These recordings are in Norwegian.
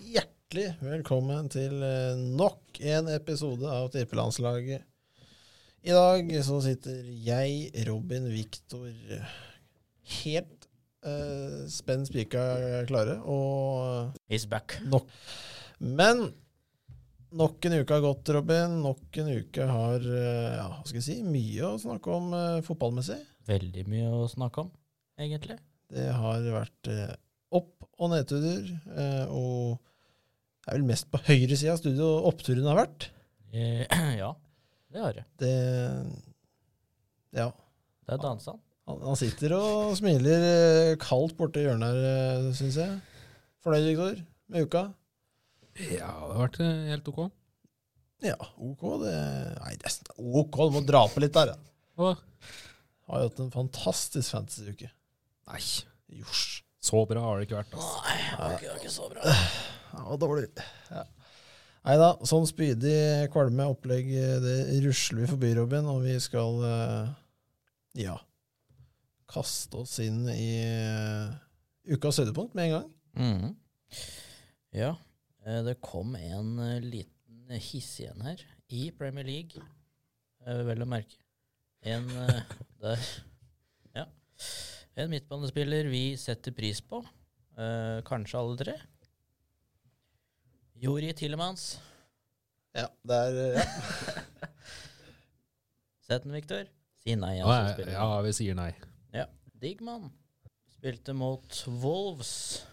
Hjertelig velkommen til eh, nok en episode av Tippelandslaget. I dag så sitter jeg, Robin Viktor, helt eh, spent spika klare, og He's back. nok. Men nok en uke har gått, Robin. Nok en uke har eh, ja, hva skal jeg si, mye å snakke om eh, fotballmessig. Veldig mye å snakke om, egentlig. Det har vært eh, opp- og nedturer, eh, og det er vel mest på høyre side av studio oppturene har vært. Eh, ja, det har jeg. Det Ja. Det er dansa. Han, han sitter og smiler eh, kaldt borti hjørnet her, syns jeg. Fornøyd, Viktor? Med uka? Ja, det har vært eh, helt ok. Ja, OK. Det Nei, det er sn- OK, du må dra på litt der. da. Hva? Har jo hatt en fantastisk fantasy-uke. Nei, Josj. så bra har det ikke vært. Altså. Nei, det var ikke- det var ikke så bra. Det var dårlig. Ja. Nei da, sånn spydig kvalme opplegg, eh, det rusler vi forbi, Robin, og vi skal eh, ja kaste oss inn i eh, ukas høydepunkt med en gang. Mhm. Ja, eh, det kom en eh, liten hissig en her i Premier League, eh, vel å merke. En eh, der Ja. En midtbanespiller vi setter pris på. Eh, kanskje alle tre. Jori Tillemans. Ja, det er eh, ja. Sett den, Viktor. Si nei, Ja, altså. jeg- spiller. ja, vi sier nei. Digman spilte mot Wolves.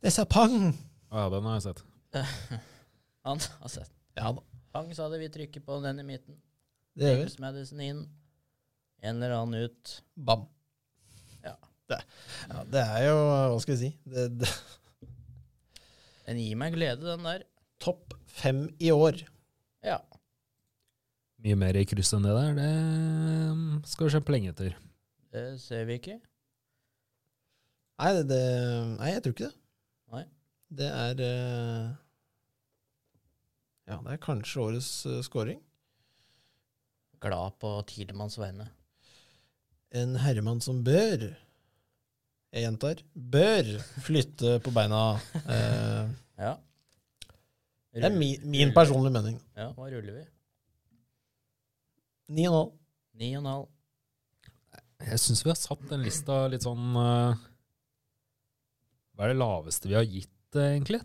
Det sa pang! Ja, den har jeg sett. Han har sett. Ja da, Pang, sa det. Vi trykker på den i midten. det gjør vi. James Madison inn. En eller annen ut. Bam. Ja. Det, ja, det er jo, hva skal jeg si, det, det, Den gir meg glede, den der. topp fem i år. Ja. Mye mer i kryss enn det der, det mm, skal vi kjempe lenge etter. Det ser vi ikke. Nei, det, det, nei jeg tror ikke det. Nei. Det er eh, Ja, det er kanskje årets eh, scoring. Glad på Tidemanns vegne. En herremann som bør Jeg gjentar bør flytte på beina. Eh, Ja. det er min, min Ruller- personlige mening. Ja, hva ruller vi? 9,5. Ni og en halv. Jeg syns vi har satt den lista litt sånn eh, Hva er det laveste vi har gitt, eh, egentlig?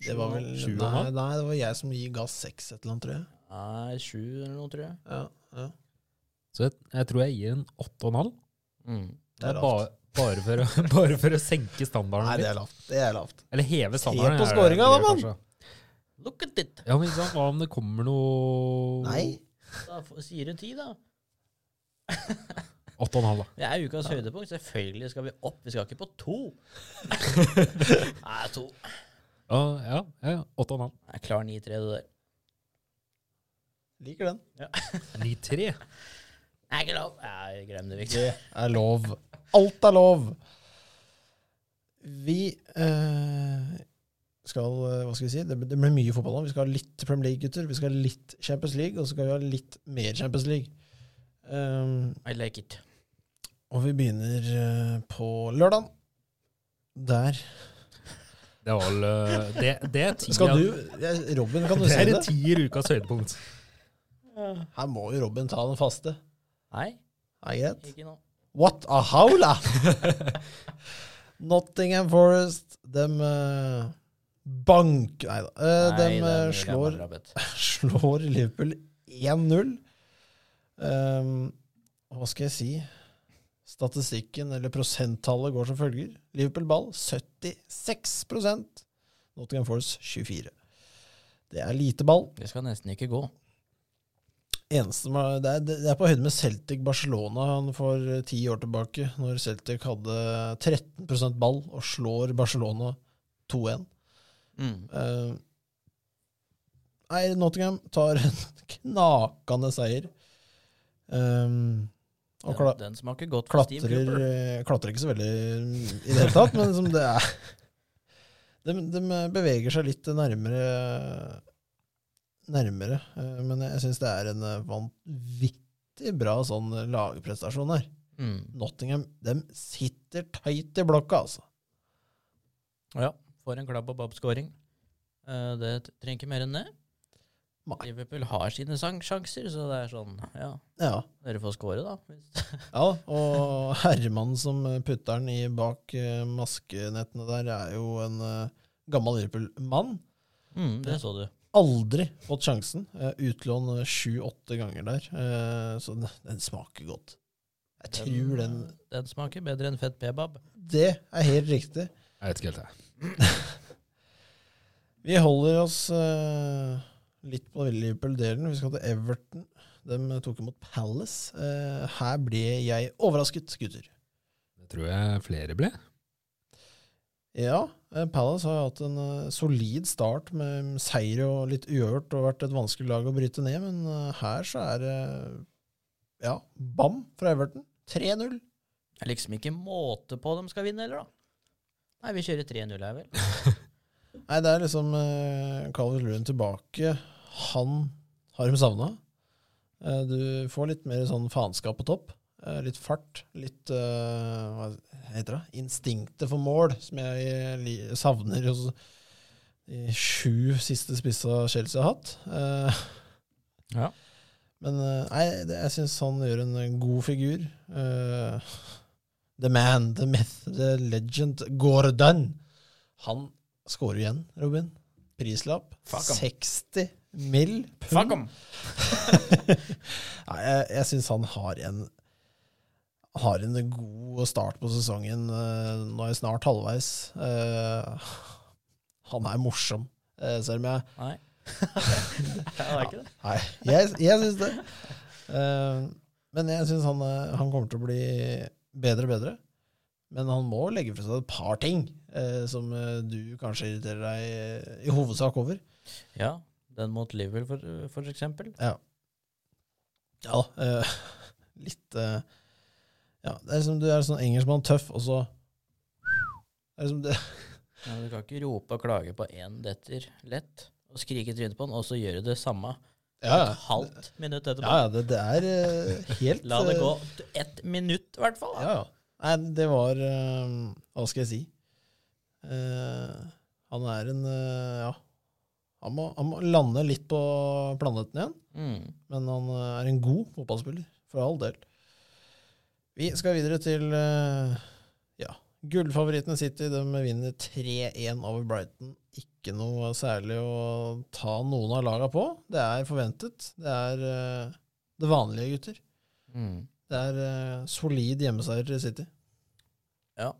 Det var vel Sju og en nei, halv? nei, det var jeg som ga seks et eller annet, tror jeg. Er sju eller noe, tror jeg. Ja, ja. Så jeg, jeg tror jeg gir en åtte og en halv. Mm. Det er lavt. bare, bare, for å, bare for å senke Nei, standarden det litt. er lavt. Det er lavt. Eller heve standarden. på er det scoringen da, blir mann! kanskje. Look at it! Ja, men ikke sant, Hva om det kommer noe Nei. Da f- sier du ti, da. Åtte og en halv, da. Det er ukas høydepunkt. Selvfølgelig skal vi opp. Vi skal ikke på to. Nei, to. Ja, ja, ja, åtte og en halv. Nei, klar 9-3, det der. Liker den. 9-3. Nei, ikke lov. Nei, glem det, Victor. Det er lov. Alt er lov. Vi eh, skal eh, Hva skal vi si? Det, det blir mye fotball nå. Vi skal ha litt Premier League, gutter. Vi skal ha litt Champions League, og så skal vi ha litt mer Champions League. Um, I like it. og vi begynner eh, på lørdag. Der. Det var vel eh, Det, det er ti Skal av- du jeg- Robin, kan du Det si er det? en tier ukas høydepunkt. Her må jo Robin ta den faste. Nei, Er det greit? ikke nå. What a howla! Nottingham Forest, dem eh, bank... Nei da. Eh, Nei, dem eh, den slår gamle rabbit. slår Liverpool 1-0. Ehm, hva skal jeg si? Statistikken, eller prosenttallet, går som følger. Liverpool ball 76 Nottingham Force 24 Det er lite ball. Det skal nesten ikke gå. Eneste man, det, er, det er på høyde med Celtic Barcelona han for eh, ti år tilbake, når Celtic hadde 13 ball og slår Barcelona 2-1. Eh, Nei, Nottingham tar en knakende seier. Ehm, og Den, kla den smaker godt for Steve klatrer, Cooper. eh, klatrer ikke så veldig i det hele tatt, men som det er de, de beveger seg litt nærmere Nærmere. eh, Men jeg syns det er en eh, vanvittig bra sånn lagprestasjon her. Mm. Nottingham de sitter tight i blokka, altså. Ja, får en klabb og babb-skåring. Eh, Det t- trenger ikke mer enn det. Nei. Liverpool har sine sang- sjanser, så det er sånn Ja, Ja. dere får score, da. Hvis- ja, og Herman som putter den i bak eh, maskenettene der, er jo en eh, gammel Liverpool-mann. Mm, det så du. Aldri fått sjansen. Eh, Utlån sju-åtte ganger der, eh, så den, den smaker godt. Jeg tror den Den smaker bedre enn fett kebab. Det er helt riktig. Jeg vet ikke helt, jeg. Vi holder oss eh, litt på Liverpool-delen. Vi skal til Everton. De tok imot Palace. Eh, her ble jeg overrasket, gutter. Det tror jeg flere ble. Ja, eh, Palace har hatt en eh, solid start med seier og litt uørt og vært et vanskelig lag å bryte ned, men eh, her så er det ja, bam fra Everton. 3-0. Det er liksom ikke måte på de skal vinne heller, da. Nei, vi kjører 3-0 her, vel. Nei, det er liksom eh, Calvin Lewin tilbake. Han har de savna. Eh, du får litt mer sånn faenskap på topp. Eh, litt fart. Litt eh, Hva heter det? Instinktet for mål, som jeg eh, li- savner hos de sju siste spissa Chelsea har hatt. Eh, Ja. men eh, nei, det, jeg syns han gjør en god figur. Eh, the man, the myth, the legend, Gordon. Han skårer igjen, Robin. Prislapp Fuck 'em. 60 mill. pund. Fuck 'em! Nei, jeg, jeg syns han har en har en god start på sesongen. eh, Nå er jeg snart halvveis. Eh, han er morsom, eh, selv om jeg Nei. det er ikke det. Nei, jeg, jeg syns det. Eh, men jeg syns han, eh, han kommer til å bli bedre og bedre. Men han må legge fra seg et par ting eh, som eh, du kanskje irriterer deg eh, i hovedsak over. Ja, den mot Liverpool, for, for eksempel. Ja da. eh, litt eh, Ja, det er som du er sånn engelskmann tøff, og så det er som det, Ja, du kan ikke rope og klage på én detter lett, og skrike i trynet på den, og så gjøre det samme ja, et halvt minutt etterpå. ja, ja, det, det er eh, helt La det eh, gå ett minutt, i hvert fall. da. Ja, ja. Nei, det var eh, Hva skal jeg si? Eh, han er en eh, Ja. Han må, han må lande litt på planeten igjen, Mm. men han eh, er en god fotballspiller, for all del. Vi skal videre til eh, ja, gullfavorittene City. De vinner 3-1 over Brighton. Ikke noe særlig å ta noen av laga på. Det er forventet. Det er eh, det vanlige, gutter. Mm. Det er eh, solid hjemmeseier til City. Ja.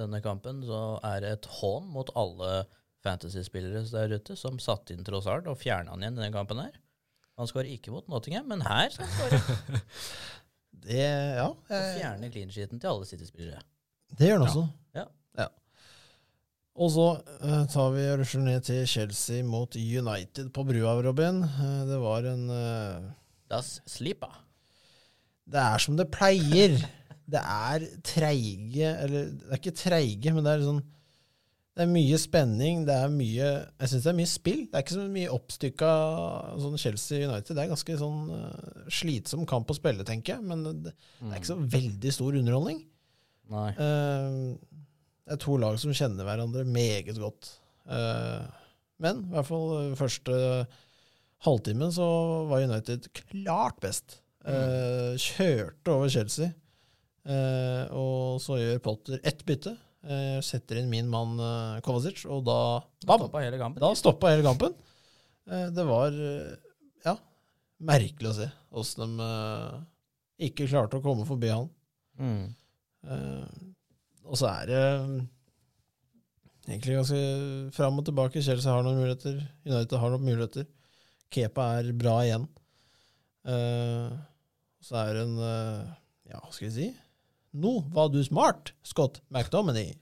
Denne kampen så er det et hån mot alle fantasy-spillere der ute som satte inn Trossard og fjerna han igjen i den kampen her. Han skårer ikke mot Nottingham, men her skal han skåre. Det, ja, Og jeg, fjerne clean sheeten til alle City-spillere. det gjør den også. Ja. Og så eh, tar vi og rusler ned til Chelsea mot United på brua, Robin. Eh, det var en eh, Das Slipa. Det er som det pleier. Det er treige Eller det er ikke treige, men det er sånn det er mye spenning, det er mye Jeg syns det er mye spill. Det er ikke så mye oppstykka sånn Chelsea-United. Det er ganske sånn eh, slitsom kamp å spille, tenker jeg. Men det, det er ikke så veldig stor underholdning. Nei. Eh, Det er to lag som kjenner hverandre meget godt. Eh, Men i hvert fall eh, første halvtimen så var United klart best. Eh, Kjørte over Chelsea. Eh, Og så gjør Potter ett bytte. Eh, Setter inn min mann eh, Kovacic, og da bam! Stoppa hele kampen. Da stoppa hele kampen. Eh, Det var eh, ja, merkelig å se åssen de eh, ikke klarte å komme forbi han. Mm. Eh, og så er det eh, egentlig ganske fram og tilbake. Chelsea har noen muligheter. United har noen muligheter. Kepa er bra igjen. Eh, så er det en eh, Ja, hva skal jeg si? Nå var du smart, Scott McDominay.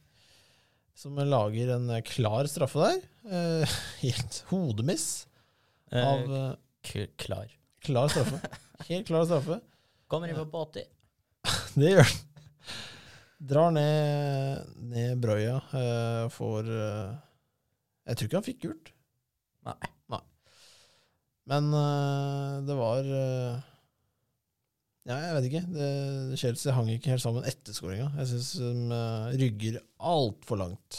Som lager en eh, klar straffe der. Eh, helt hodemiss av Eh, eh, k- klar. klar straffe. Helt klar straffe. Kommer inn på 80. Det gjør den. Drar ned, ned brøya, eh, får eh, Jeg tror ikke han fikk gult. Nei. Men eh, det var eh, Ja, jeg vet ikke. Det, Chelsea hang ikke helt sammen etter skåringa. Jeg syns de eh, rygger altfor langt.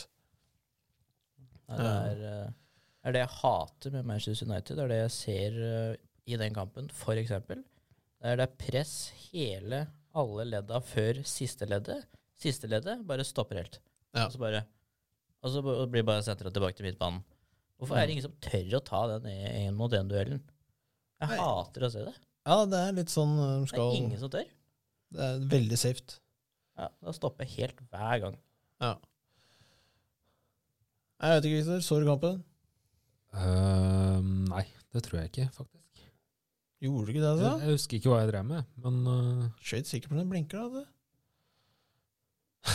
Nei, det er eh, Det er det jeg hater med Manchester United. Det er det jeg ser eh, i den kampen, for eksempel. Det er det er press hele alle ledda før siste leddet. Siste leddet bare stopper helt. Ja. Og så bare og så b- blir bare sentra tilbake til midtbanen. Hvorfor er det ingen som tør å ta den én mot én-duellen? Jeg Nei. hater å se det. Ja, det er litt sånn eh, Det er skal ingen som tør. Det er veldig safe. Ja, da stopper jeg helt hver gang. Nei, Jeg vet ikke, Victor. Så du kampen? Eh, nei, det tror jeg ikke, faktisk. Gjorde du ikke det, Jeg, altså? jeg husker ikke hva jeg drev med, men Skjøt sikkert på den blinker, da. altså.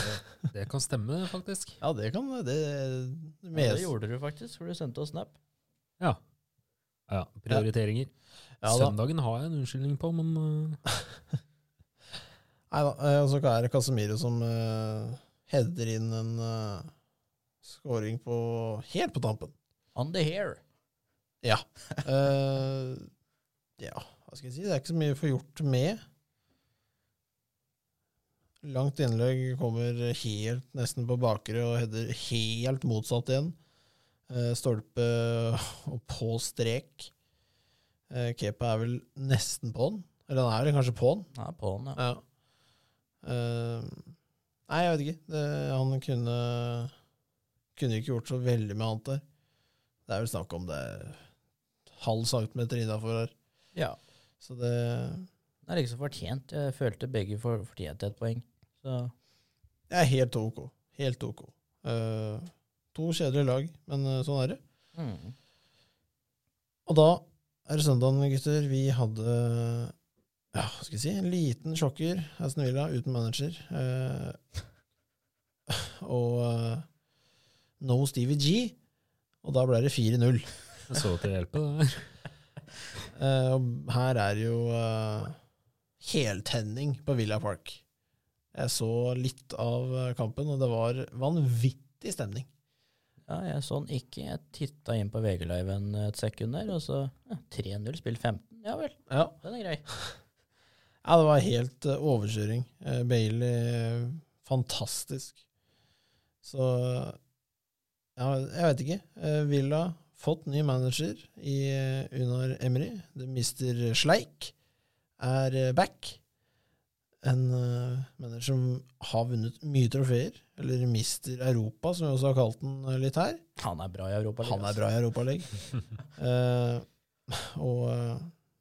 Det. eh, det kan stemme, faktisk. Ja, det kan det. det Ja, mest. det gjorde du faktisk, for du sendte oss snap. Ja. ja prioriteringer. Ja, da. Søndagen har jeg en unnskyldning på, men eh, Nei da. eh, Og så er det Casemiro som uh, header inn en uh, scoring på helt på tampen. On the hair. Eh, ja, hva skal jeg si? Det er ikke så mye å få gjort med. Langt innlegg kommer helt nesten på bakre og header helt motsatt igjen. Eh, stolpe og på strek. Eh, Kepa er vel nesten på'n. Eller han er vel kanskje på'n. Nei, på den, ja. Ja. Eh, nei, jeg vet ikke. Det, han kunne Kunne ikke gjort så veldig med annet der. Det er vel snakk om det er halv centimeter innafor her. ja. Så det Det er liksom fortjent. Jeg følte begge for, fortjente et poeng. Så det er helt ok. Helt ok. Eh, to kjedelige lag, men eh, sånn er det. mm. Og da er det søndagen, gutter. Vi hadde ja, hva skal jeg si, en liten sjokker. Aston Villa uten manager. Eh, og eh, no Stevie G. Og da ble det 4-0. jeg så til hjelpe. det der. Eh, og her er jo eh, heltenning på Villa Park. Jeg så litt av eh, kampen, og det var vanvittig stemning. Ja, jeg så den ikke. Jeg titta inn på VG Live en et sekund der, og så ja, 3-0, spill 15. Ja vel, Ja. den er grei. Ja, det var helt eh, overkjøring. Eh, Bailey, eh, fantastisk. Så ja, jeg vet ikke. Eh, Villa fått ny manager i eh, Unar Emry. The Mr. Sleik er eh, back. En eh, manager som har vunnet mye trofeer. Eller Mr. Europa, som vi også har kalt den eh, litt her. Han er bra i Europa. Han er bra i Europaligaen. uh, og eh,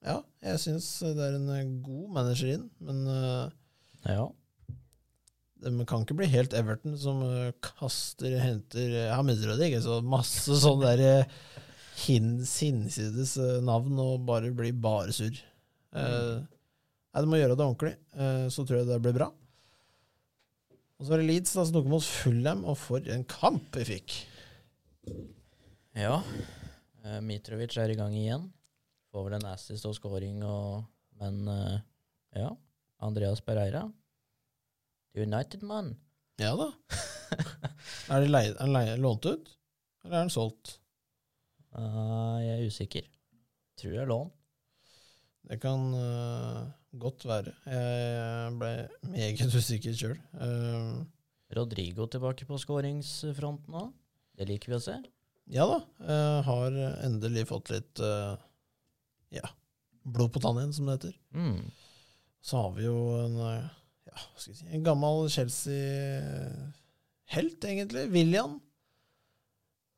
ja, jeg syns det er en eh, god manager inn, men eh, altså. Ja. de kan ikke bli helt Everton, som eh, kaster, henter eh, Ja, mindre det ikke, så masse sånne der eh, hins, hinsides eh, navn og bare blir bare surr. Eh, Nei, du må gjøre det ordentlig, eh, så tror jeg det blir bra. Og så var det Leeds da, som tok imot Fulham, og for en kamp vi fikk! ja. Eh, Mitrovic er i gang igjen. Får vel en assist og scoring og Men eh, ja. Andreas Pereira. United man. Ja da. er det leie, er den leie, lånt ut, eller er den solgt? Eh, jeg er usikker. Tror jeg lån. Det kan eh, godt være. Jeg ble meget usikker Eh, sjøl. Rodrigo tilbake på skåringsfronten òg. Det liker vi å se. ja da, eh, har endelig fått litt eh, ja, blod på tann igjen, som det heter. Mm. Så har vi jo en, eh, ja, hva skal jeg si, en gammel Chelsea-helt, egentlig. William.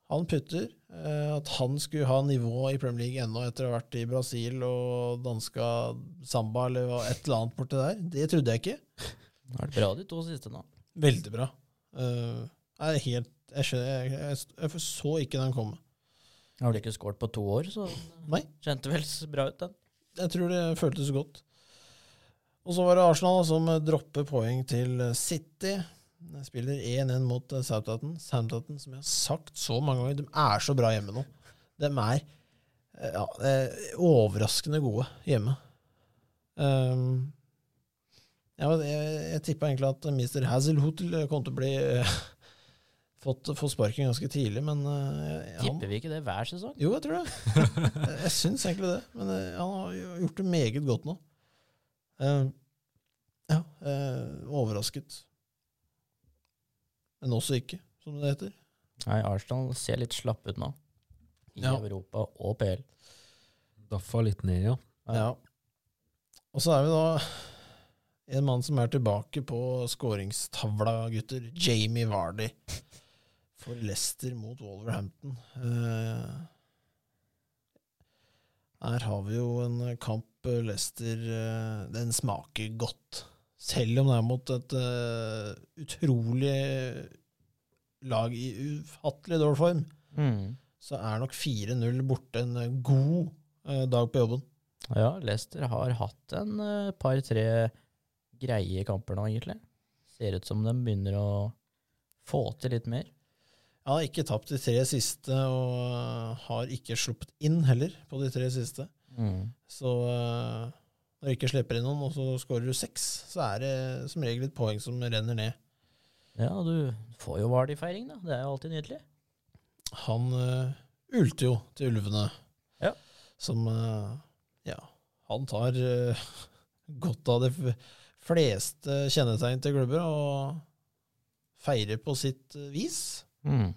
Han putter. eh, At han skulle ha nivå i Premier League ennå etter å ha vært i Brasil og danska samba eller hva- et eller annet borti der, det trodde jeg ikke. Det har vært bra de to siste nå. Veldig bra. Eh, jeg, er helt, jeg, skjønner, jeg, jeg, jeg så ikke den komme. Jeg har vel ikke skåret på to år, så Nei. kjente vel s- bra ut, den. Jeg tror det føltes godt. Og så var det Arsenal da, som dropper poeng til City. De spiller 1-1 mot eh, Southampton. Southampton, som jeg har sagt så mange ganger, de er så bra hjemme nå. De er eh, ja, eh, overraskende gode hjemme. Ehm, ja, men jeg jeg tippa egentlig at Mr. Hazelhotel kom til å bli eh, fått, få sparken ganske tidlig, men eh, han- Tipper vi ikke det hver sesong? jo, jeg tror det. Jeg- Jeg syns egentlig det. Men eh, han har jo gjort det meget godt nå. Eh, ja, eh, overrasket. Men også ikke, som det heter. Nei, Arsenal ser litt slapp ut nå. i Ja. Europa og PL. Daffa litt ned, ja. Ja. Og så er vi da en mann som er tilbake på skåringstavla, gutter. Jamie Vardy. For Leicester mot Wolverhampton. Eh, her har vi jo en kamp eh, Leicester eh, Den smaker godt. Selv om det er mot et eh, utrolig lag i ufattelig dårlig form, Mm. så er nok 4-0 borte en eh, god eh, dag på jobben. Ja, Leicester har hatt en eh, par-tre greie kamper nå, egentlig. Ser ut som de begynner å få til litt mer. Ja, ikke tapt de tre siste, og eh, har ikke sluppet inn heller på de tre siste. Mm. Så eh, når du ikke slipper inn noen, og så skårer du seks, så er det som regel et poeng som renner ned. Ja, du får jo Vardy-feiring, da. Det er jo alltid nydelig. Han eh, ulte jo til ulvene, Ja. som eh, Ja, han tar eh, godt av de f- fleste kjennetegn til klubber, og feirer på sitt eh, vis. Mm.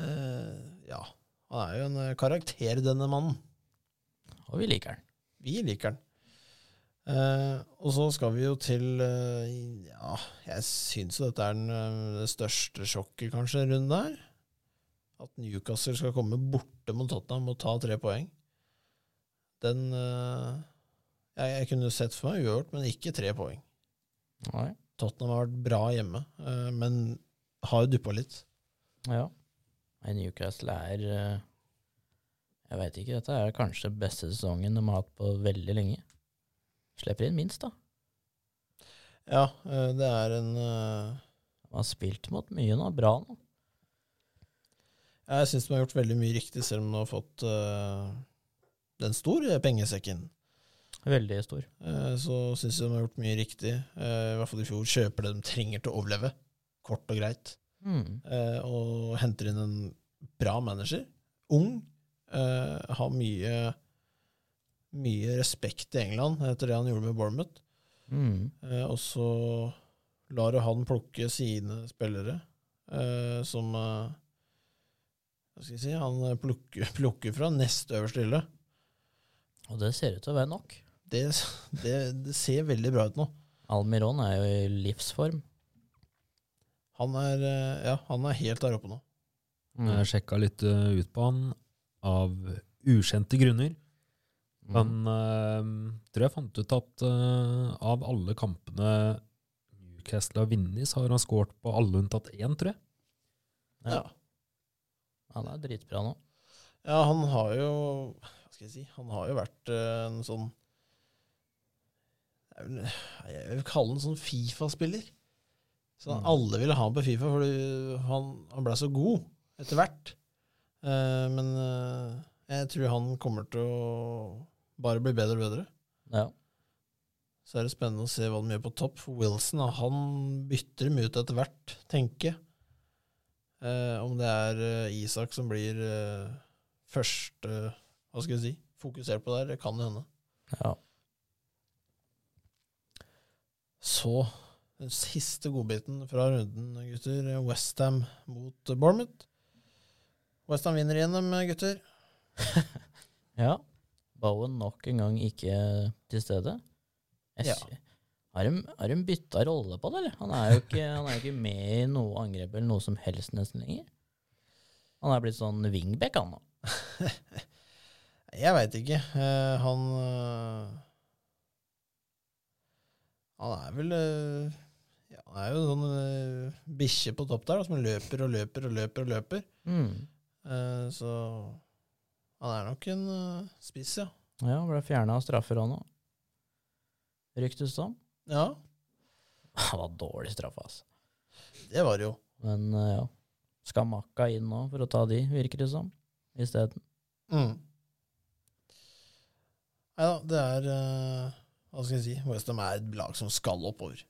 Eh, ja, han er jo en eh, karakter, denne mannen. Og vi liker den. Vi liker den. Eh, og så skal vi jo til eh, Ja, jeg syns jo dette er den, eh, det største sjokket, kanskje, rundt der. At Newcastle skal komme borte mot Tottenham og ta tre poeng. Den eh, jeg, jeg kunne sett for meg uavgjort, men ikke tre poeng. Nei. Tottenham har vært bra hjemme, eh, men har jo duppa litt. Ja. Nei, Newcastle er eh, Jeg veit ikke, dette er kanskje beste sesongen de har hatt på veldig lenge. Slipper inn minst, da. Ja, eh, det er en eh, De har spilt mot mye nå. Bra nå. Jeg syns de har gjort veldig mye riktig, selv om de har fått eh, den store pengesekken. Veldig stor. Eh, så syns jeg de har gjort mye riktig. Eh, I hvert fall i fjor. Kjøper det de trenger til å overleve, kort og greit. Mm. Eh, Og henter inn en bra manager. Ung. eh, Har mye mye respekt i England etter det han gjorde med Bournemouth. Mm. Eh, Og så lar han plukke sine spillere, eh, som eh, Hva skal jeg si Han plukker, plukker fra nest øverste hylle. Og det ser ut til å være nok. Det, det, det ser veldig bra ut nå. Almiron er jo i livsform. Han er, eh, ja, han er helt der oppe nå. Mm. Jeg sjekka litt eh, ut på han av ukjente grunner. Men Mm. eh, tror jeg fant ut at eh, av alle kampene Newcastle har vunnet, så har han skåret på alle unntatt én, tror jeg. Ja. Ja. Han er dritbra nå. Ja, han har jo Hva skal jeg si Han har jo vært eh, en sånn det er vel- Jeg vil kalle han sånn Fifa-spiller. Så Mm. Alle ville ha han på Fifa, fordi han, han ble så god etter hvert. Eh, men eh, jeg tror han kommer til å bare bli bedre og bedre. Ja. Så er det spennende å se hva de gjør på topp. For Wilson ah, han bytter dem ut etter hvert, tenker jeg. Eh, om det er eh, Isak som blir eh, først eh, Hva skal jeg si fokusert på der, det kan hende. ja. Så den siste godbiten fra runden, gutter. Westham mot Bournemouth. Westham vinner igjen, dem, gutter. ja. Bowen nok en gang ikke til stede. Jeg Ja. sy- Har de, har de bytta rolle på det, eller? Han er jo ikke, han er jo ikke med i noe angrep eller noe som helst nesten lenger. Han er blitt sånn wingback, han nå. Jeg veit ikke. Eh, han eh, Han er vel eh, ja, Han er jo en sånn eh, bikkje på topp der, da, som løper og løper og løper. og løper. Eh, så han er nok en eh, spiss, ja. Ja, ble fjerna av straffer òg nå. Ryktes det om. Ja, Han var dårlig straffa, altså. det var det jo. Men eh, ja. Skal Makka inn nå for å ta de, virker det som, isteden? Mm. Nei da, det er eh, Hva skal jeg si? Westham er et lag som skal oppover.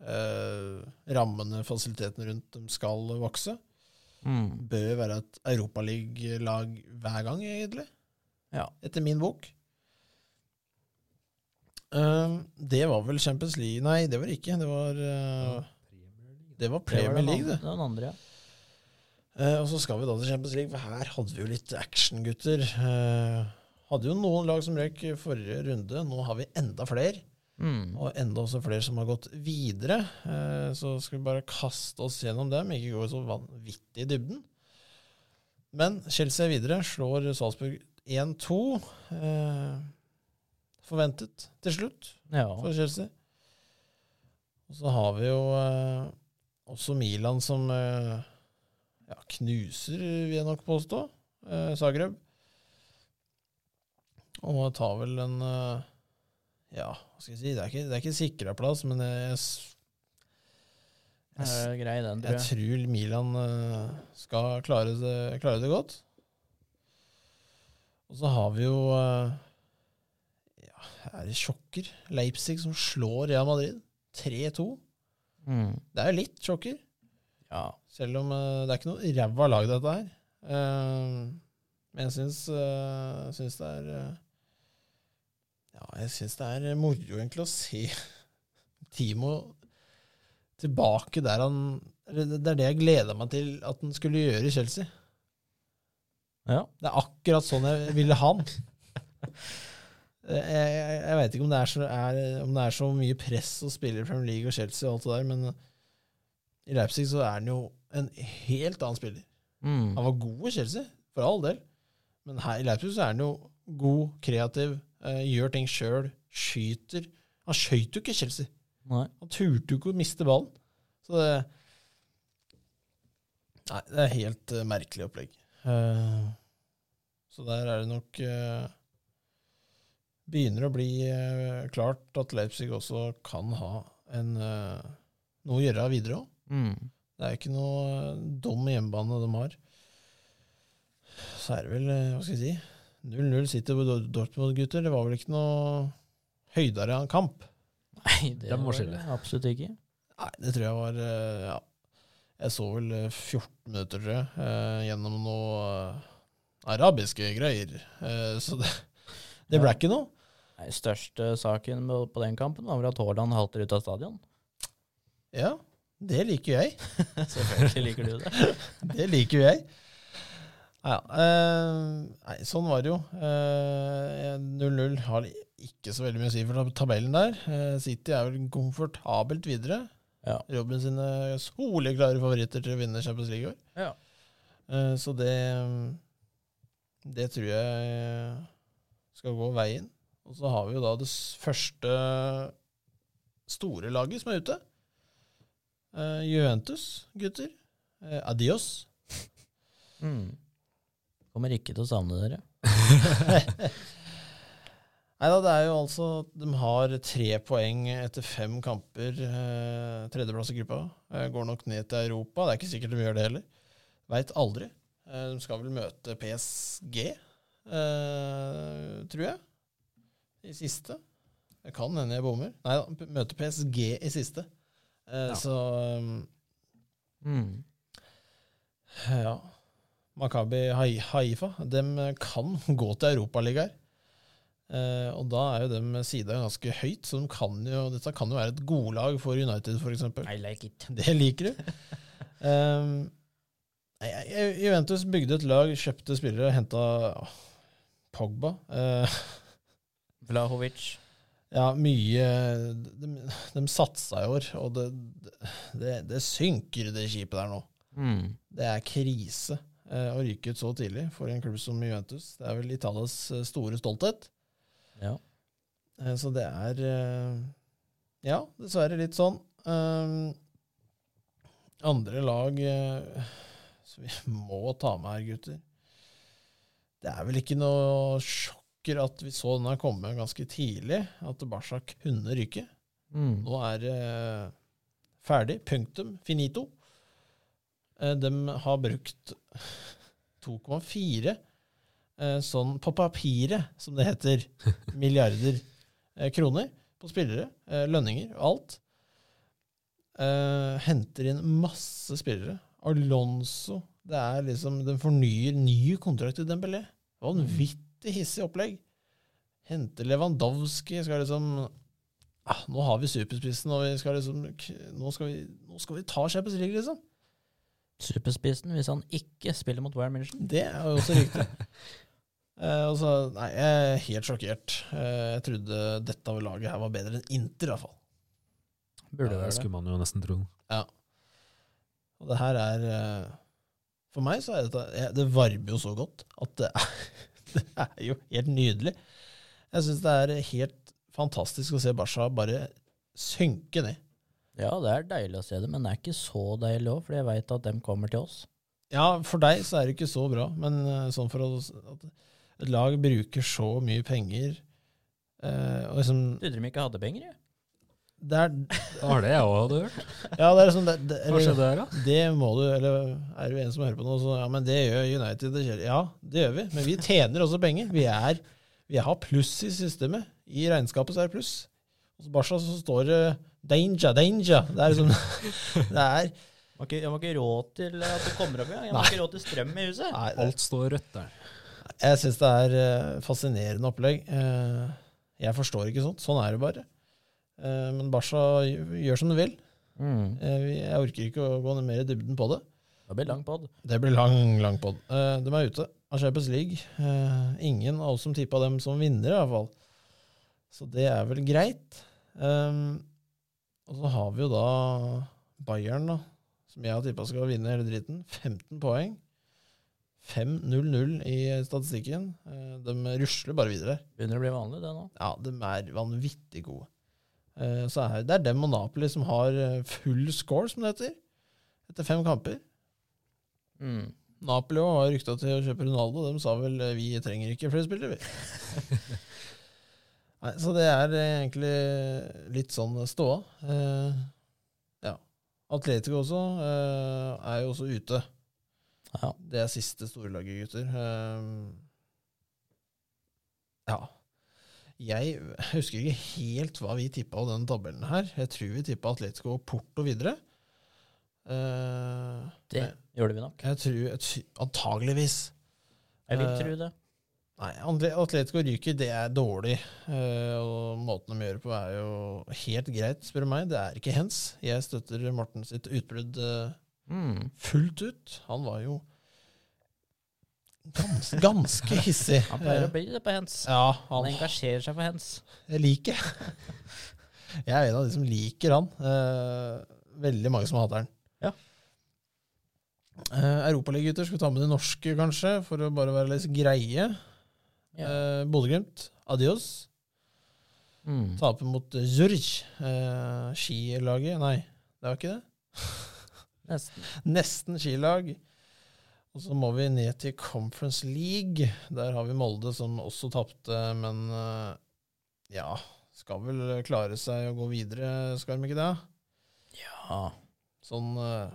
Eh, rammene, fasilitetene rundt dem skal vokse. Mm. bør jo være et europaligalag hver gang, egentlig. Ja. Etter min bok. Eh, det var vel Champions League Nei, det var det ikke. Det var, eh, det var Premier Det var League, den, det. an- den andre, ja. Eh, og så skal vi da til Champions League, for her hadde vi jo litt action, gutter. Eh, hadde jo noen lag som røyk i forrige runde. Nå har vi enda flere, Mm. og enda også flere som har gått videre. Eh, så skal vi bare kaste oss gjennom dem, ikke gå så vanvittig i dybden. Men Chelsea er videre, slår Salzburg 1-2. Eh, forventet til slutt Ja. for Chelsea. Og så har vi jo eh, også Milan som eh, ja, knuser, vil jeg nok påstå, eh, Zagreb. Og tar vel en eh, Ja, hva skal jeg si, det er ikke, det er ikke sikra plass, men jeg, s- jeg, Det s- er grei, den, tror jeg jeg. tror Milan eh, skal klare det, klare det godt. Og så har vi jo eh, ja, Er det sjokker? Leipzig som slår Real Madrid 3-2. Mm. Det er jo litt sjokker, Ja. selv om eh, det er ikke noe ræva lag, dette her. Eh, men jeg syns, eh, syns det er eh, Ja, jeg syns det er moro egentlig å se Timo tilbake der han eller Det det er det jeg gleda meg til at han skulle gjøre i Chelsea. ja. Det er akkurat sånn jeg ville ha den. Jeg, jeg, jeg veit ikke om det, er så, er, om det er så mye press å spille i Premier League og Chelsea og alt det der, men i Leipzig så er han jo en helt annen spiller. Mm. Han var god i Chelsea, for all del, men her i Leipzig så er han jo god, kreativ, eh, gjør ting sjøl, skyter. Han skøyt jo ikke i Chelsea. Nei. Han turte jo ikke å miste ballen. Så det Nei, det er helt eh, merkelig opplegg. Eh, så der er det nok eh, Begynner å bli eh, klart at Leipzig også kan ha en, eh, noe å gjøre videre òg. Mm. Det er ikke noe eh, dum hjemmebane de har. Så er det vel, eh, hva skal jeg si 0-0 sitter på Dor- Dortmund, gutter. Det var vel ikke noe høydere av en kamp. Nei, det Den må var skille. det Absolutt ikke. Nei, det tror jeg var eh, Ja. Jeg så vel eh, 14 minutter, tror jeg, eh, gjennom noe eh, arabiske greier. Eh, Så det, det ble Ja. ikke noe. Nei, største saken med- på den kampen var vel at Haaland halter ut av stadion. Ja, det liker jeg. Selvfølgelig liker du det. Det liker jeg. Ja, ja. eh, Nei, sånn var det jo. Eh, 0-0 har ikke så veldig mye å si for tabellen der. Eh, City er vel komfortabelt videre. Ja. Robin sine soleklare favoritter til å vinne Champions League i år. Ja. Eh, Så det mm, Det tror jeg skal gå veien. Og så har vi jo da det s- første store laget som er ute. Eh, Juventus, gutter. Eh, Adios. Mm. Kommer ikke til å savne dere. Nei da, det er jo altså De har tre poeng etter fem kamper. Eh, tredjeplass i gruppa. Eh, går nok ned til Europa. Det er ikke sikkert de gjør det heller. Veit aldri. Eh, de skal vel møte PSG, eh, tror jeg, i siste. Det kan hende jeg bommer. Nei da, p- møte PSG i siste. Eh, Ja. Så um, Mm. eh, ja. Makabi Hai- Haifa dem kan gå til Europaligaer. Eh, og da er jo dem sida ganske høyt, så de kan jo, dette kan jo være et godlag for United, f.eks. I like it. Det liker du. Ehm, nei, jeg- jeg- Juventus bygde et lag, kjøpte spillere, henta Pogba. Eh, Vlahovic. ja, mye De, de satsa i år, og det, det, det synker, det skipet der nå. Mm. Det er krise eh, å ryke ut så tidlig for en klubb som Juventus. Det er vel Italias eh, store stolthet. Ja. Eh, Så det er eh, Ja, dessverre litt sånn. Eh, Andre lag eh, som vi må ta med her, gutter Det er vel ikke noe sjokker at vi så denne komme ganske tidlig, at Barca kunne ryke. Mm. Nå er det ferdig. Punktum. Finito. Eh, De har brukt 2,4 eh, sånn på papiret, som det heter, milliarder eh, kroner på spillere, eh, lønninger og alt. Eh, Henter inn masse spillere. Alonso det er liksom, Den fornyer ny kontrakt til Dembélé. Vanvittig hissig opplegg. Henter Lewandowski skal liksom ah, Nå har vi superspissen, og vi skal liksom k- Nå skal vi, nå skal vi ta Champions League, liksom. superspissen hvis han ikke spiller mot Ware Milchen. Det er jo også riktig. Eh, og så- nei, jeg er helt sjokkert. Eh, jeg trodde dette laget her var bedre enn Inter, i hvert fall. Burde det være det. skulle man jo nesten tro. Og det her er eh, For meg så er dette jeg- Det varmer jo så godt at det er, det er jo helt nydelig. Jeg syns det er helt fantastisk å se Barca bare synke ned. Ja, det er deilig å se det, men det er ikke så deilig òg, for jeg veit at dem kommer til oss. Ja, for deg så er det ikke så bra, men eh, sånn for oss at et lag bruker så mye penger eh, og liksom, Du trodde de ikke hadde penger, jeg. det er, Det var det jeg òg hadde hørt. ja, det er liksom det, det, Hva eller- skjedde her, da? Det må du, eller er du en som hører på nå, så ja, men det gjør United. Det gjør, ja, det gjør vi, men vi tjener også penger. Vi, er, vi har pluss i systemet. I regnskapet så er det pluss. Hos Barca så står det danger, danger. Det er liksom Det er Har ikke- Jeg har ikke råd til at det kommer opp, jeg. Jeg har ikke råd til strøm i huset. Nei, det- Alt står rødt der. jeg syns det er eh, fascinerende opplegg. Eh, Jeg forstår ikke sånt. Sånn er det bare. Eh, Men Barca gjør som du vil. Mm. Eh, vi- Jeg orker ikke å gå mer i dybden på det. Det blir lang pod. Det blir lang, lang pod. Eh, de er ute av Champions League. Eh, ingen av oss som tippa dem som vinnere, i hvert fall. Så det er vel greit. Ehm, og så har vi jo da Bayern, da, som jeg har tippa skal vinne hele dritten. 15 poeng. 5-0-0 i statistikken. Eh, de rusler bare videre. Begynner å bli vanlig, det nå. Ja, de er vanvittig gode. Eh, så er det er dem og Napoli som har eh, full score, som det heter, etter fem kamper. Mm. Napoli også har rykta til å kjøpe Ronaldo. De sa vel eh, 'vi trenger ikke flere spillere', vi. Nei, så det er eh, egentlig litt sånn ståa. Eh, ja. Atletico også eh, er jo også ute. Ja. Det er siste storlaget, gutter. Eh, ja. Jeg husker ikke helt hva vi tippa av den tabellen her. Jeg tror vi tippa Atletico og Porto videre. Eh, Det gjorde vi nok. jeg tror, jeg tror Antageligvis. Jeg vil Eh, tro det. Nei, Atle- Atletico ryker, det er dårlig. Eh, og måten de gjør det på, er jo helt greit, spør du meg. Det er ikke hens. Jeg støtter Morten sitt utbrudd eh, Mm. fullt ut. Han var jo ganske, ganske hissig. Han pleier å Eh, bli det på hands. ja, Han han engasjerer seg på hands. Jeg liker Jeg er en av de som liker han. Eh, veldig mange som hater han. Ja. Eh, Europaligagutter skal vi ta med de norske, kanskje, for å bare være litt greie. Ja. Eh, Bodø-Glimt, adios. Mm. Tape mot Zürich. Eh, skilaget Nei, det var ikke det. Nesten. Nesten skilag. Og så må vi ned til Conference League. Der har vi Molde, som også tapte, men eh, ja Skal vel klare seg å gå videre, skal de ikke det? Ja. Sånn eh,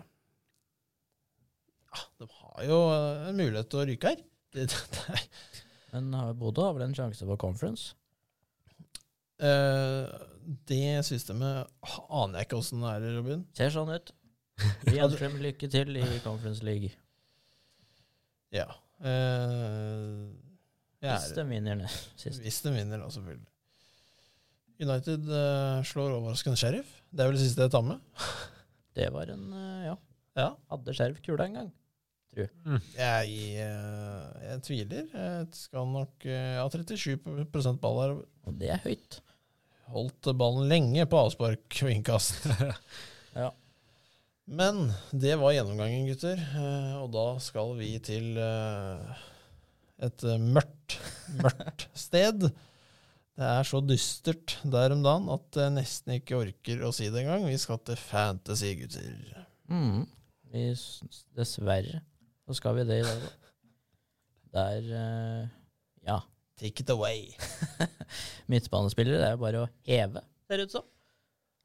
Ja, de har jo eh, en mulighet til å ryke her. Det, det, det er Men har- Bodø har vel en sjanse på conference? Eh, det systemet aner jeg ikke åssen det er, Robin. Ser sånn ut. Vi ønsker dem lykke til i Conference League. Ja. Eh, jeg Hvis er- de vinner ned sist. Hvis de vinner, da, selvfølgelig. United eh, slår overraskende Sheriff. Det er vel det siste jeg tar med. Det var en eh, Ja. Ja. Hadde skjerv kula en gang. Jeg, eh, jeg tviler. Jeg skal nok eh, Ja, 37 ball her. Og det er høyt. Holdt ballen lenge på avspark og innkast. Ja. Men det var gjennomgangen, gutter. Eh, Og da skal vi til eh, et eh, mørkt, mørkt sted. Det er så dystert der om dagen at jeg nesten ikke orker å si det engang. Vi skal til fantasy, gutter. Mm. Vi, s- dessverre så skal vi det i dag òg. Der eh, Ja. Take it away. Midtbanespillere det er jo bare å heve, ser det ut som.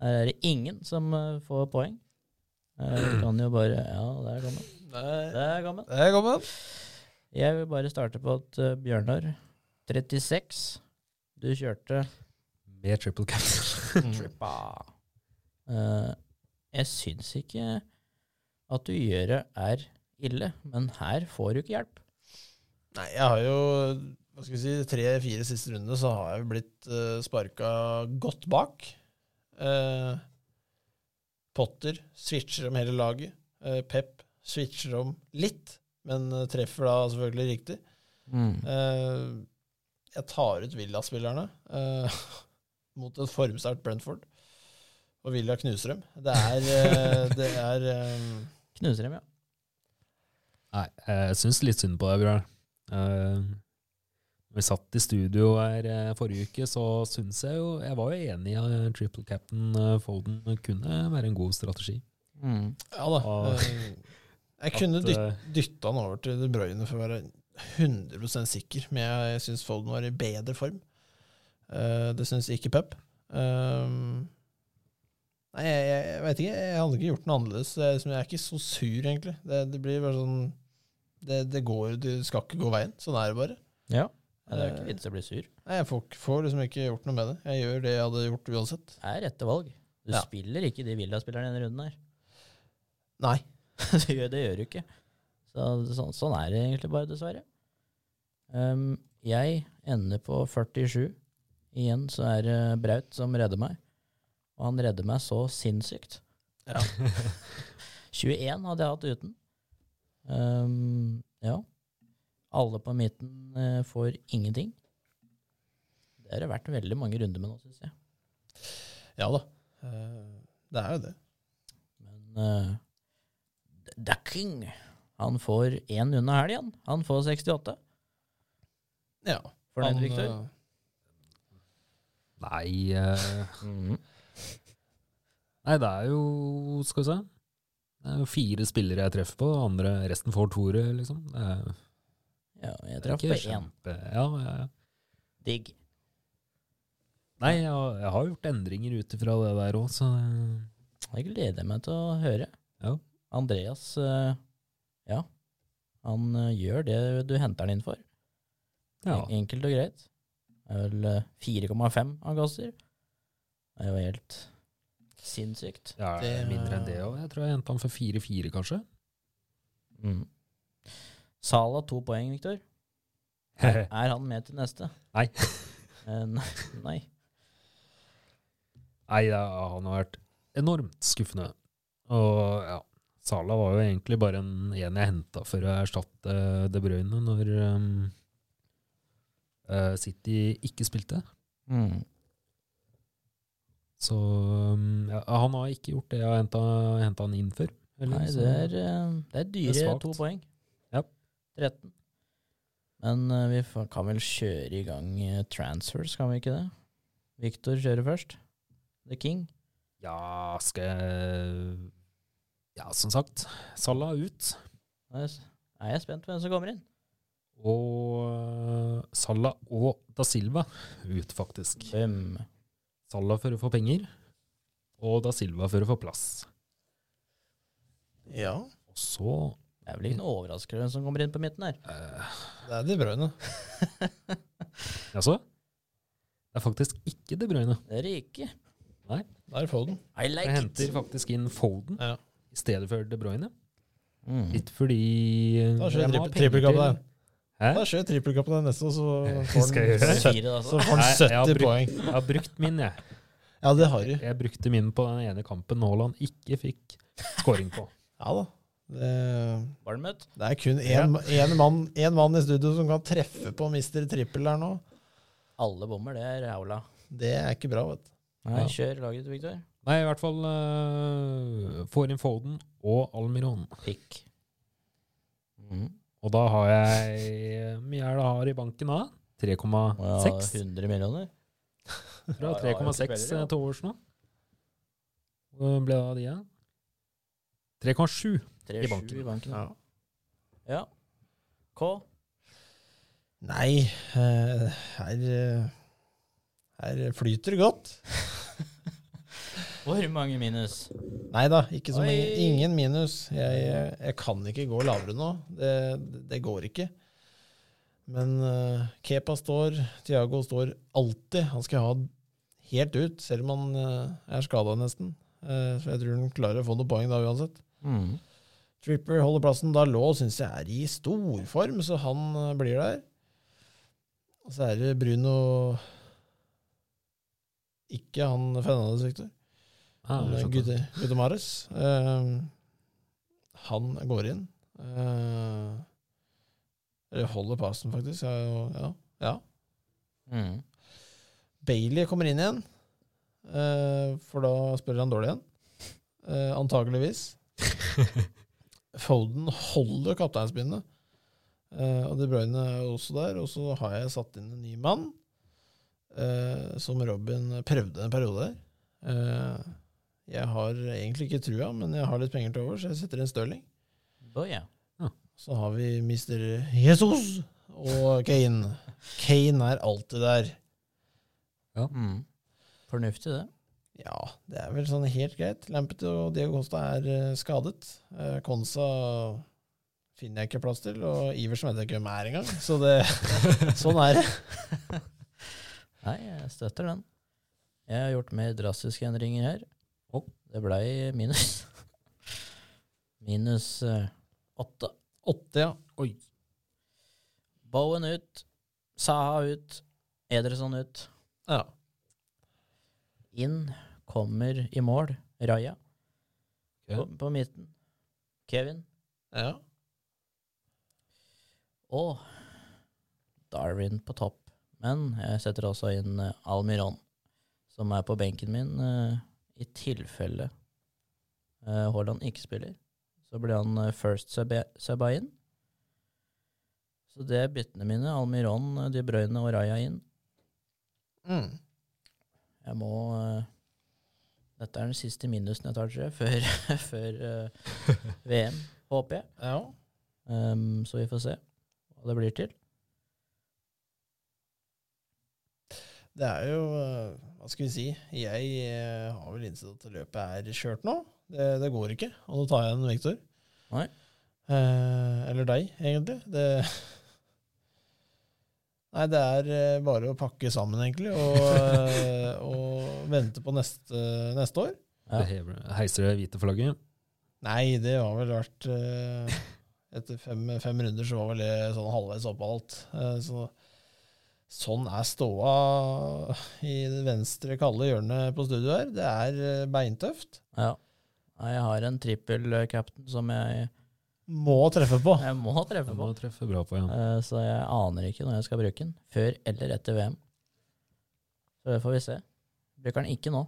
Her er det ingen som eh, får poeng. Eh, Du kan jo bare Ja, der kom den. Der Der kom den. der kom den. Jeg vil bare starte på at eh, Bjørnar 36. Du kjørte Med triple caps. trippa. Eh, jeg syns ikke at du gjør det er ille, men her får du ikke hjelp. Nei, jeg har jo hva skal vi si, tre-fire siste rundene så har jeg jo blitt uh, sparka godt bak. Eh, Potter switcher om hele laget. Eh, Pep Switcher om litt, men eh, treffer da selvfølgelig riktig. Mm. Eh, jeg tar ut Villa-spillerne eh, mot et formsterkt Brentford, og Villa knuser dem. Det er, eh, det er eh, Knuser dem, ja. Nei, jeg syns litt synd på deg, Bjørn. Eh, når vi satt i studio her eh, forrige uke, så syns jeg jo Jeg var jo enig i at triple cap'n eh, Foden kunne være en god strategi. Mm. Ja da. Ah. eh, jeg kunne At, dytt, eh, dytta han over til De Bruyne for å være 100 sikker, men jeg, jeg syns Folden var i bedre form. Eh, det syns ikke Pep. Ehm, nei, jeg, jeg, jeg vet ikke. Jeg hadde ikke gjort noe annerledes. Jeg, er liksom- jeg er ikke så sur, egentlig. Det, det blir bare sånn det, det går, det skal ikke gå veien. Sånn er det bare. Ja. Nei, Det er Eh, jo ikke vits i å bli sur. Nei, Jeg får, får liksom ikke gjort noe med det. Jeg gjør det jeg hadde gjort uansett. Det er rette valg. Du Ja. spiller ikke de Villa-spillerne denne runden her. Nei. det, gjør, det gjør du ikke. Så, sånn, sånn er det egentlig bare, dessverre. Ehm, jeg ender på 47. Igjen så er det Braut som redder meg. Og han redder meg så sinnssykt. 21 hadde jeg hatt uten. Ehm, ja. Alle på midten eh, får ingenting. Det har det vært veldig mange runder med nå, syns jeg. Ja da. Eh, det er jo det. Men uh, Ducking Han får én unna helgen. Han får 68. Ja. Fornøyd, Han, Viktor? eh, Nei eh, Nei, det er jo Skal vi se. Det er jo fire spillere jeg treffer på, andre, resten får toere, liksom. Det er, Ja, jeg det er traff på ikke én. kjempe... Ja, ja, ja. Digg. Nei, jeg, har- jeg har gjort endringer ut ifra det der òg, så Jeg gleder meg til å høre. Ja. Andreas eh, Ja, han eh, gjør det du henter han inn for. ja. En- Enkelt og greit. Det er vel eh, 4,5 han kaster. Det er jo helt sinnssykt. ja det er Det- mindre enn det òg. Jeg tror jeg henta han for 4-4, kanskje. Mm. Sala to poeng, Viktor. Er han med til neste? Nei. Eh, nei. nei. Nei, ja, han har vært enormt skuffende. Og ja, Sala var jo egentlig bare en, en jeg henta for å erstatte De Bruyne når ehm, eh, City ikke spilte. Mm. Så ehm, ja, han har ikke gjort det jeg har henta han inn for. eller Nei, så- det er, eh, det er dyre Det er svakt. to poeng. Ja. 13. Men eh, vi fa- kan vel kjøre i gang eh, transfers, kan vi ikke det? Victor kjører først. The King. Ja, skal jeg Ja, som sagt, Sala ut. Da Er jeg s- er jeg spent på hvem som kommer inn. Og eh, Sala og Da Silva ut, faktisk. Bum. Sala for å få penger, og da Silva for å få plass. ja. Og så Det er vel ikke noe overraskende hvem som kommer inn på midten her. eh, Det er De Bruyne. Jaså? Det er faktisk ikke De Bruyne. Det er det ikke. Der får du den. I like Jeg henter faktisk inn Foden Ja. i stedet for De Bruyne. Mm. Litt fordi eh, Da skjer jeg må tripp- ha penger trippelkaptein. til- Hæ? Da skjer trippelkappen den neste, og så får Skal jeg gjøre den det? sytt- Fire, så altså. da, så. får den Nei, jeg har 70 brukt- poeng. Jeg har brukt min, jeg. Ja, det har du. Jeg brukte min på den ene kampen Haaland ikke fikk scoring på. Ja da. Det, Valmøtt. det er kun én én mann, én mann i studio som kan treffe på mister trippel der nå. Alle bommer, det er aula. Det er ikke bra, vet du. Nei, Ja. kjør laget, Victor. Nei, i hvert fall eh, får inn Foden og Almiron. Pick. Mm. Og da har jeg Hvor mye er det jeg har i banken da? 3,6? Ja, 100 millioner. Fra Ja, det var jo 3,6 tilfeldig, ja. til overs eh, nå. Hvor ble det av de igjen? 3,7. 3-7 i banken. banken. Ja. Ja. K. Nei, eh, her, eh, her flyter det godt. Hvor mange minus? Nei da, ikke så mange. Oi. Ingen minus. Jeg, jeg kan ikke gå lavere nå. Det, det går ikke. Men eh, Kepa står, Thiago står alltid. Han skal ha helt ut, selv om han eh, er skada nesten. Eh, så jeg tror han klarer å få noen poeng da uansett. Mm. Tripper holder plassen. Dalot syns jeg er i storform, så han eh, blir der. Og så er det Bruno Ikke han Fernandez, Victor. Ah, Han, jeg skjønte. Gude, Gude Mares. Eh, Han går inn. Eh, eller holder passen, faktisk. Ja, ja, ja. Mm. Bailey kommer inn igjen, eh, for da spiller han dårlig igjen. Eh, antakeligvis. Foden holder kapteinspinnet, eh, og De Bruyne er jo også der. Og så har jeg satt inn en ny mann, eh, som Robin prøvde en periode der. Eh, jeg har egentlig ikke trua, men jeg har litt penger til over, så jeg setter inn Stirling. Da, ja. Så har vi Mr. Jesus og Kane. Kane er alltid der. Mm. Fornuftig, det. Ja, det er vel sånn helt greit. Lampet og Diego Costa er eh, skadet. Eh, Konsa finner jeg ikke plass til, og Iversen vet jeg ikke hvem er engang. Så det, sånn er det. Nei, jeg støtter den. Jeg har gjort mer drastiske endringer her. Og det blei minus. Minus eh, åtte. Åtte, ja. Oi. Bowen ut. Saha ut. Ederson ut. ja. Inn kommer i mål Raja Ok. på, på midten. Kevin Ja. og Darwin på topp. Men jeg setter også inn eh, Almiron, som er på benken min eh, i tilfelle eh, Haaland ikke spiller. Så blir han eh, first subba subba inn. Så det er byttene mine. Almiron, eh, De Bruyne og Raja inn. Mm. Jeg må eh, Dette er den siste minusen jeg tar, tror jeg, før, før eh, VM, håper jeg. ja. Ehm, så vi får se hva det blir til. Det er jo eh, Hva skal vi si? Jeg eh, har vel innsett at løpet er kjørt nå. Det, det går ikke. Og nå tar jeg en Vektor. Nei. Eh, eller deg, egentlig. Det Nei, det er eh, bare å pakke sammen, egentlig, og, eh, og vente på neste, neste år. Ja. Det hever, heiser det hvite flagget. Nei, det har vel vært eh, Etter fem, fem runder så var vel det sånn halvveis opp av alt. Eh, så, sånn er ståa i det venstre kalde hjørnet på studio her. Det er eh, beintøft. Ja. Nei, Jeg har en trippel-captain som jeg, Må treffe på. jeg må treffe Den på. må treffe bra på, ja. Eh, så jeg aner ikke når jeg skal bruke den. Før eller etter VM. Så det får vi se. Bruker den ikke nå,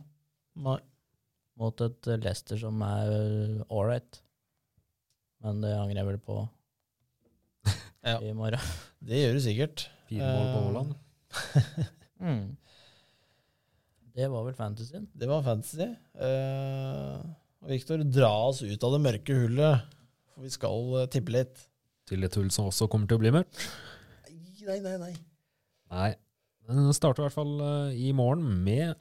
Nei. mot et eh, Leicester som er ålreit. Men det angrer jeg vel på Ja. i morgen. Det gjør du sikkert. Fire mål på Eh, Haaland. Mm. Det var vel fantasyen. Det var fantasy. Eh, og Viktor, dra oss ut av det mørke hullet, for vi skal eh, tippe litt. Til et hull som også kommer til å bli mørkt. Nei, nei, nei. Nei. Den starter i hvert fall eh, i morgen med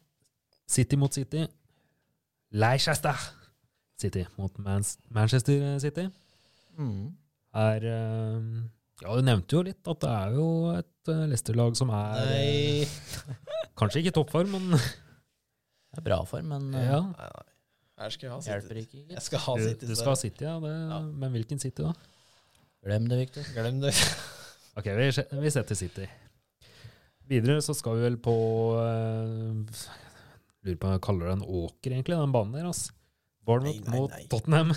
City mot City. Leicester City mot Mans Manchester City. Mm. Er eh, Ja, du nevnte jo litt at det er jo et eh, Leicester-lag som er eh, Nei. Kanskje ikke i toppform, men Det er bra form, men eh, ja. nei, nei. Her skal jeg ha sitt. hjelper ikke. Jeg skal ha Du, sitt. du skal ha City, ja, det, Ja. Men hvilken City, da? Glem det, Victor. Glem det. Ok, vi, se- vi setter City. Videre så skal vi vel på eh, Lurer på om jeg kaller det en åker, egentlig, den banen der. ass. Bournemouth Nei, nei, mot nei. Tottenham.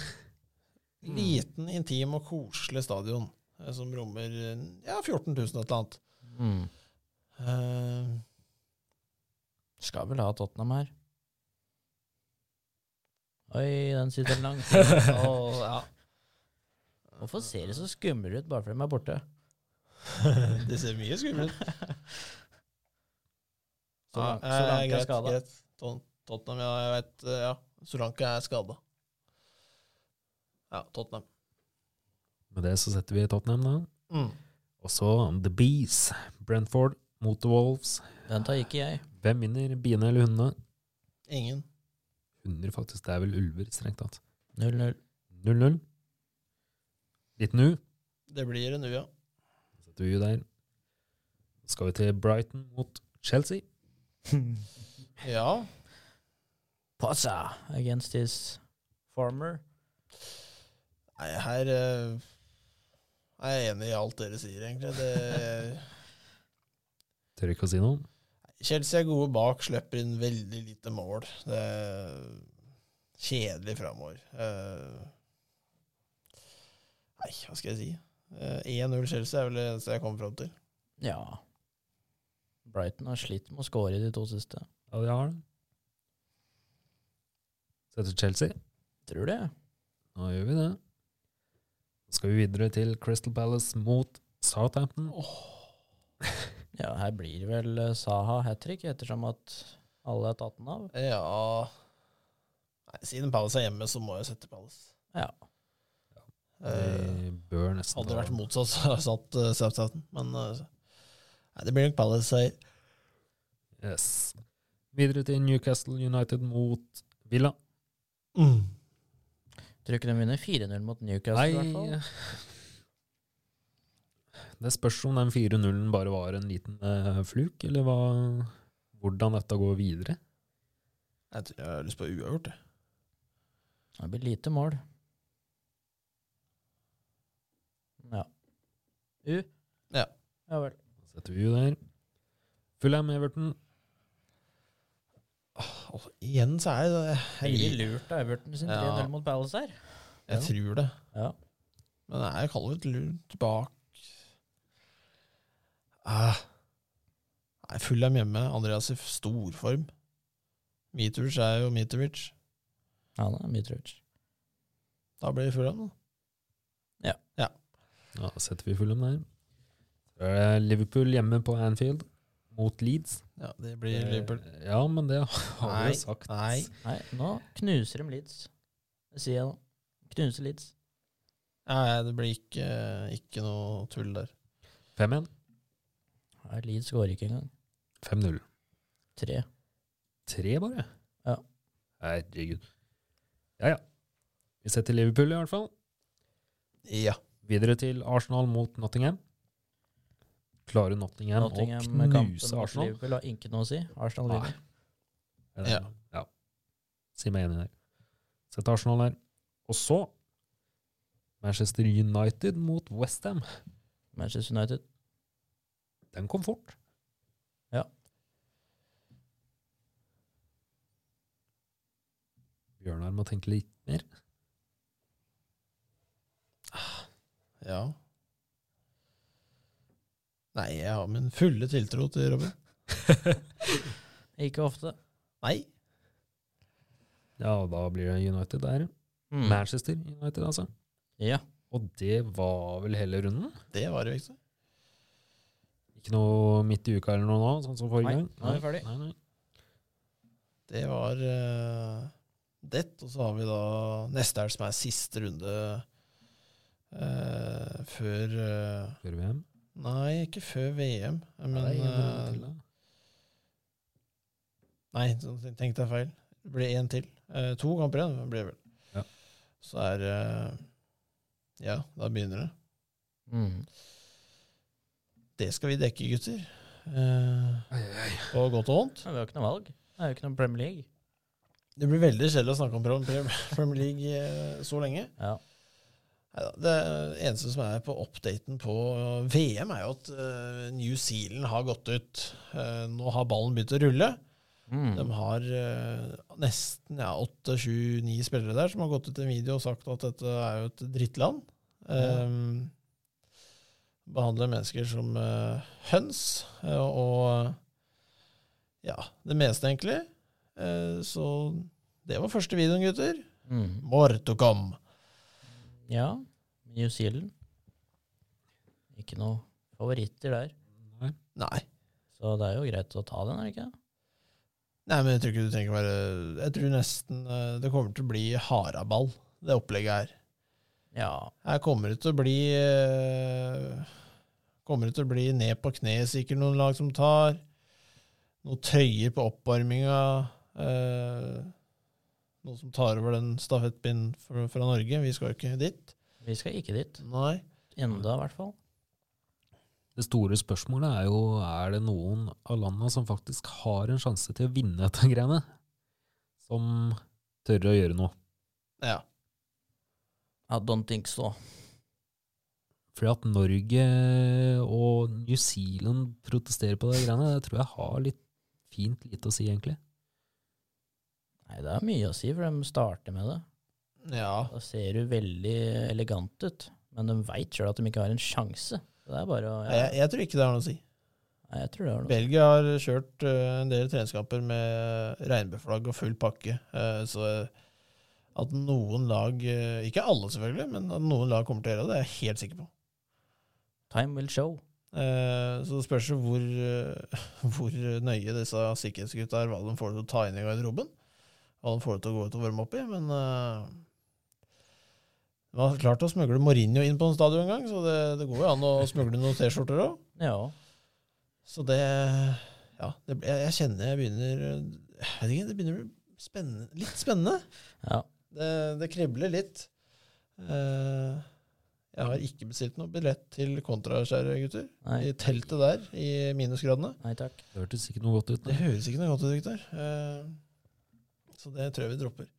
Mm. Liten, intim og koselig stadion eh, som rommer eh, ja, 14 000 og et eller annet. Mm. Eh, Skal vel ha Tottenham her. Oi, den sitter langt. og, ja. Hvorfor ser det så skummel ut bare fordi de er borte? Det ser mye skummelt ut. Så Ja, langt, så eh, langt er greit, skada. greit. Tot- Tottenham, ja, jeg vet, eh, ja. Solanke er skada. Ja, Tottenham. Med det så setter vi Tottenham, da. Mm. Og så The Bees. Brentford mot The Wolves. Den tar ikke jeg. Hvem vinner, biene eller hundene? Ingen. Hunder, faktisk. Det er vel ulver, strengt tatt. 0-0. 0-0. Liten U. Det blir en U, ja. Så setter vi U der. Så skal vi til Brighton mot Chelsea. Ja, Passa against his former. nei, her eh, er jeg enig i alt dere sier, egentlig. Det, Tør ikke å si noe. Chelsea er gode bak, slipper inn veldig lite mål. Det er kjedelig framover. Eh, Nei, hva skal jeg si? Eh, 1-0 Chelsea er vel det eneste jeg kommer fram til. Ja. Brighton har slitt med å score i de to siste. Ja, jeg har den. Setter Chelsea. Tror det. Nå gjør vi det. Så skal vi videre til Crystal Palace mot Southampton. Ja, her blir det vel eh, Saha hat trick, ettersom at alle er tatt den av. Ja Nei, Siden Palace er hjemme, så må jeg sette Palace. Ja. Eh, De bør nesten hadde det ta vært den. motsatt, så hadde jeg satt eh, Southampton, men eh, nei, det blir nok Palace seier. Yes. Videre til Newcastle United mot Villa. Tror ikke de vinner 4-0 mot Newcastle, i hvert fall. Nei Det spørs om den 4-0-en bare var en liten eh, fluk, eller hva, hvordan dette går videre. Jeg tror jeg har lyst på uavgjort, jeg. Det blir lite mål. Ja. U? Ja. Ja vel. Da setter vi jo der. Fulham Everton. Og igjen så er det Det blir Jeg, lurt av Everton sin Ja. 3-0 mot Palace her. jeg tror det. Ja. Men jeg kaller det et lurt bak ah. Nei, Fulham hjemme. Andreas i storform. Mitrovic er jo Mitrovic. Ja, det er Mitrovic. Da blir det Fulham, da. Ja, da setter vi Fulham der. Så er det Liverpool hjemme på Anfield mot Leeds. Ja, det blir Liverpool. Eh, Ja, men det har vi Nei, jo sagt. nei. Nei, nå knuser de Leeds. Det sier jeg nå. Knuser Leeds. Nei, det blir ikke, ikke noe tull der. 5-1. Nei, Leeds går ikke engang. 5-0. Tre. Tre, bare? Ja. Herregud. Ja, ja. Vi setter Liverpool, i hvert fall. Ja. Videre til Arsenal mot Nottingham. Klarer Nottingham, Nottingham å med kampen knuse mot Arsenal? Liverpool har ikke noe å si. Arsenal Nei. vinner. Er det- ja. Si meg enig der. Sett Arsenal der. Og så Manchester United mot Westham. Manchester United. Den kom fort. Ja. Bjørnar må tenke litt mer. ja. Nei, jeg har min fulle tiltro til Robin. Ikke ofte. Nei. Ja, og da blir det United der. Mm. Manchester United, altså. Ja. Og det var vel hele runden? Det var det viktigste. Ikke noe midt i uka eller noe nå, sånn som forrige Nei, gang? nå er vi ferdig. Nei, nei. Det var eh, det, og så har vi da neste helg, som er siste runde eh, før eh, Før VM. Nei, ikke før VM, men Nei, en eh, runde til, da. Nei, så tenk deg feil. Det blir én til. Eh, to kamper igjen, men blir det vel. Ja. Så er det Ja, da begynner det. Mm. Det skal vi dekke, gutter. Eh, Ai, ai, ai. på godt og vondt. Men vi har ikke noe valg. Det er jo ikke noe Premier League. Det blir veldig kjedelig å snakke om Premier Premier League eh, så lenge. Ja. Neida, Det eneste som er på updaten på VM, er jo at eh, New Zealand har gått ut. Eh, nå har ballen begynt å rulle. Mm. De har eh, nesten ja, 8-7-9 spillere der som har gått ut i en video og sagt at dette er jo et drittland. Ja. Ehm, Behandler mennesker som eh, høns, eh, og ja, det meste, egentlig. Eh, så det var første videoen, gutter. Mm. Mortocom. Ja, New Zealand. Ikke noe favoritter der. Nei. Nei. Så det er jo greit å ta den, er det ikke? Nei, men jeg tror ikke du trenger å være Jeg tror nesten eh, det kommer til å bli haraball, det opplegget her. Ja. Her kommer det til å bli eh, Kommer det til å bli ned på kne, sikkert noen lag som tar. Noen trøyer på oppvarminga. Eh, noen som tar over den stafettpinnen fra, fra Norge. Vi skal jo ikke dit. Vi skal ikke dit. Nei. Enda, i hvert fall. Det store spørsmålet er jo er det noen av landene som faktisk har en sjanse til å vinne dette greiene, som tør å gjøre noe. Ja. I don't think so. Fordi at Norge og New Zealand protesterer på de greiene, det tror jeg har litt fint lite å si, egentlig. Nei, det er mye å si, for de starter med det. ja. Da ser du veldig elegant ut. Men de veit sjøl at de ikke har en sjanse. Så det er bare å Nei, ja. Jeg, jeg tror ikke det har noe å si. Nei, jeg tror det er noe. Belgia har kjørt eh, en del treningskamper med regnbueflagg og full pakke. eh, så at noen lag, eh, ikke alle selvfølgelig, men at noen lag kommer til å gjøre det, det er jeg helt sikker på. Time will show. Eh, så det spørs jo hvor, eh, hvor nøye disse sikkerhetsgutta er, hva de får til å ta inn i garderoben. Hva de får til å gå ut og varme opp i. Men eh, de har klart å smugle Mourinho inn på en stadion en gang, så det, det går jo an å smugle noen T-skjorter òg. Ja. Så det Ja, det, jeg, jeg kjenner jeg begynner Jeg vet ikke, det begynner å bli spennende, litt spennende. ja. Det, det kribler litt. Eh, jeg har ikke bestilt noe billett til kontra, kjære gutter. Nei. I teltet der, i minusgradene. Nei takk. Det hørtes ikke noe godt ut. Det Nei. høres ikke noe godt ut, Victor. Eh, så det tror jeg vi dropper.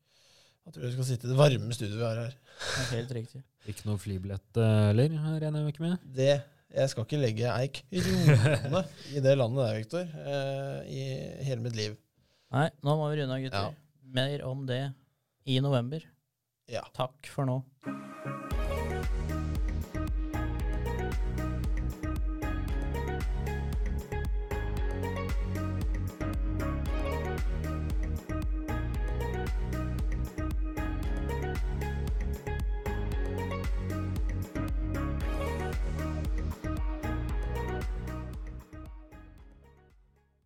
Jeg tror vi skal sitte i det varme studioet vi har her. Det er Helt riktig. Ikke noe flybillett eh, heller, regner jeg ikke med. Det, Jeg skal ikke legge ei krone i det landet der, Victor, eh, i hele mitt liv. Nei, nå må vi runde av, gutter. Ja. Mer om det i november. Ja. Takk for nå.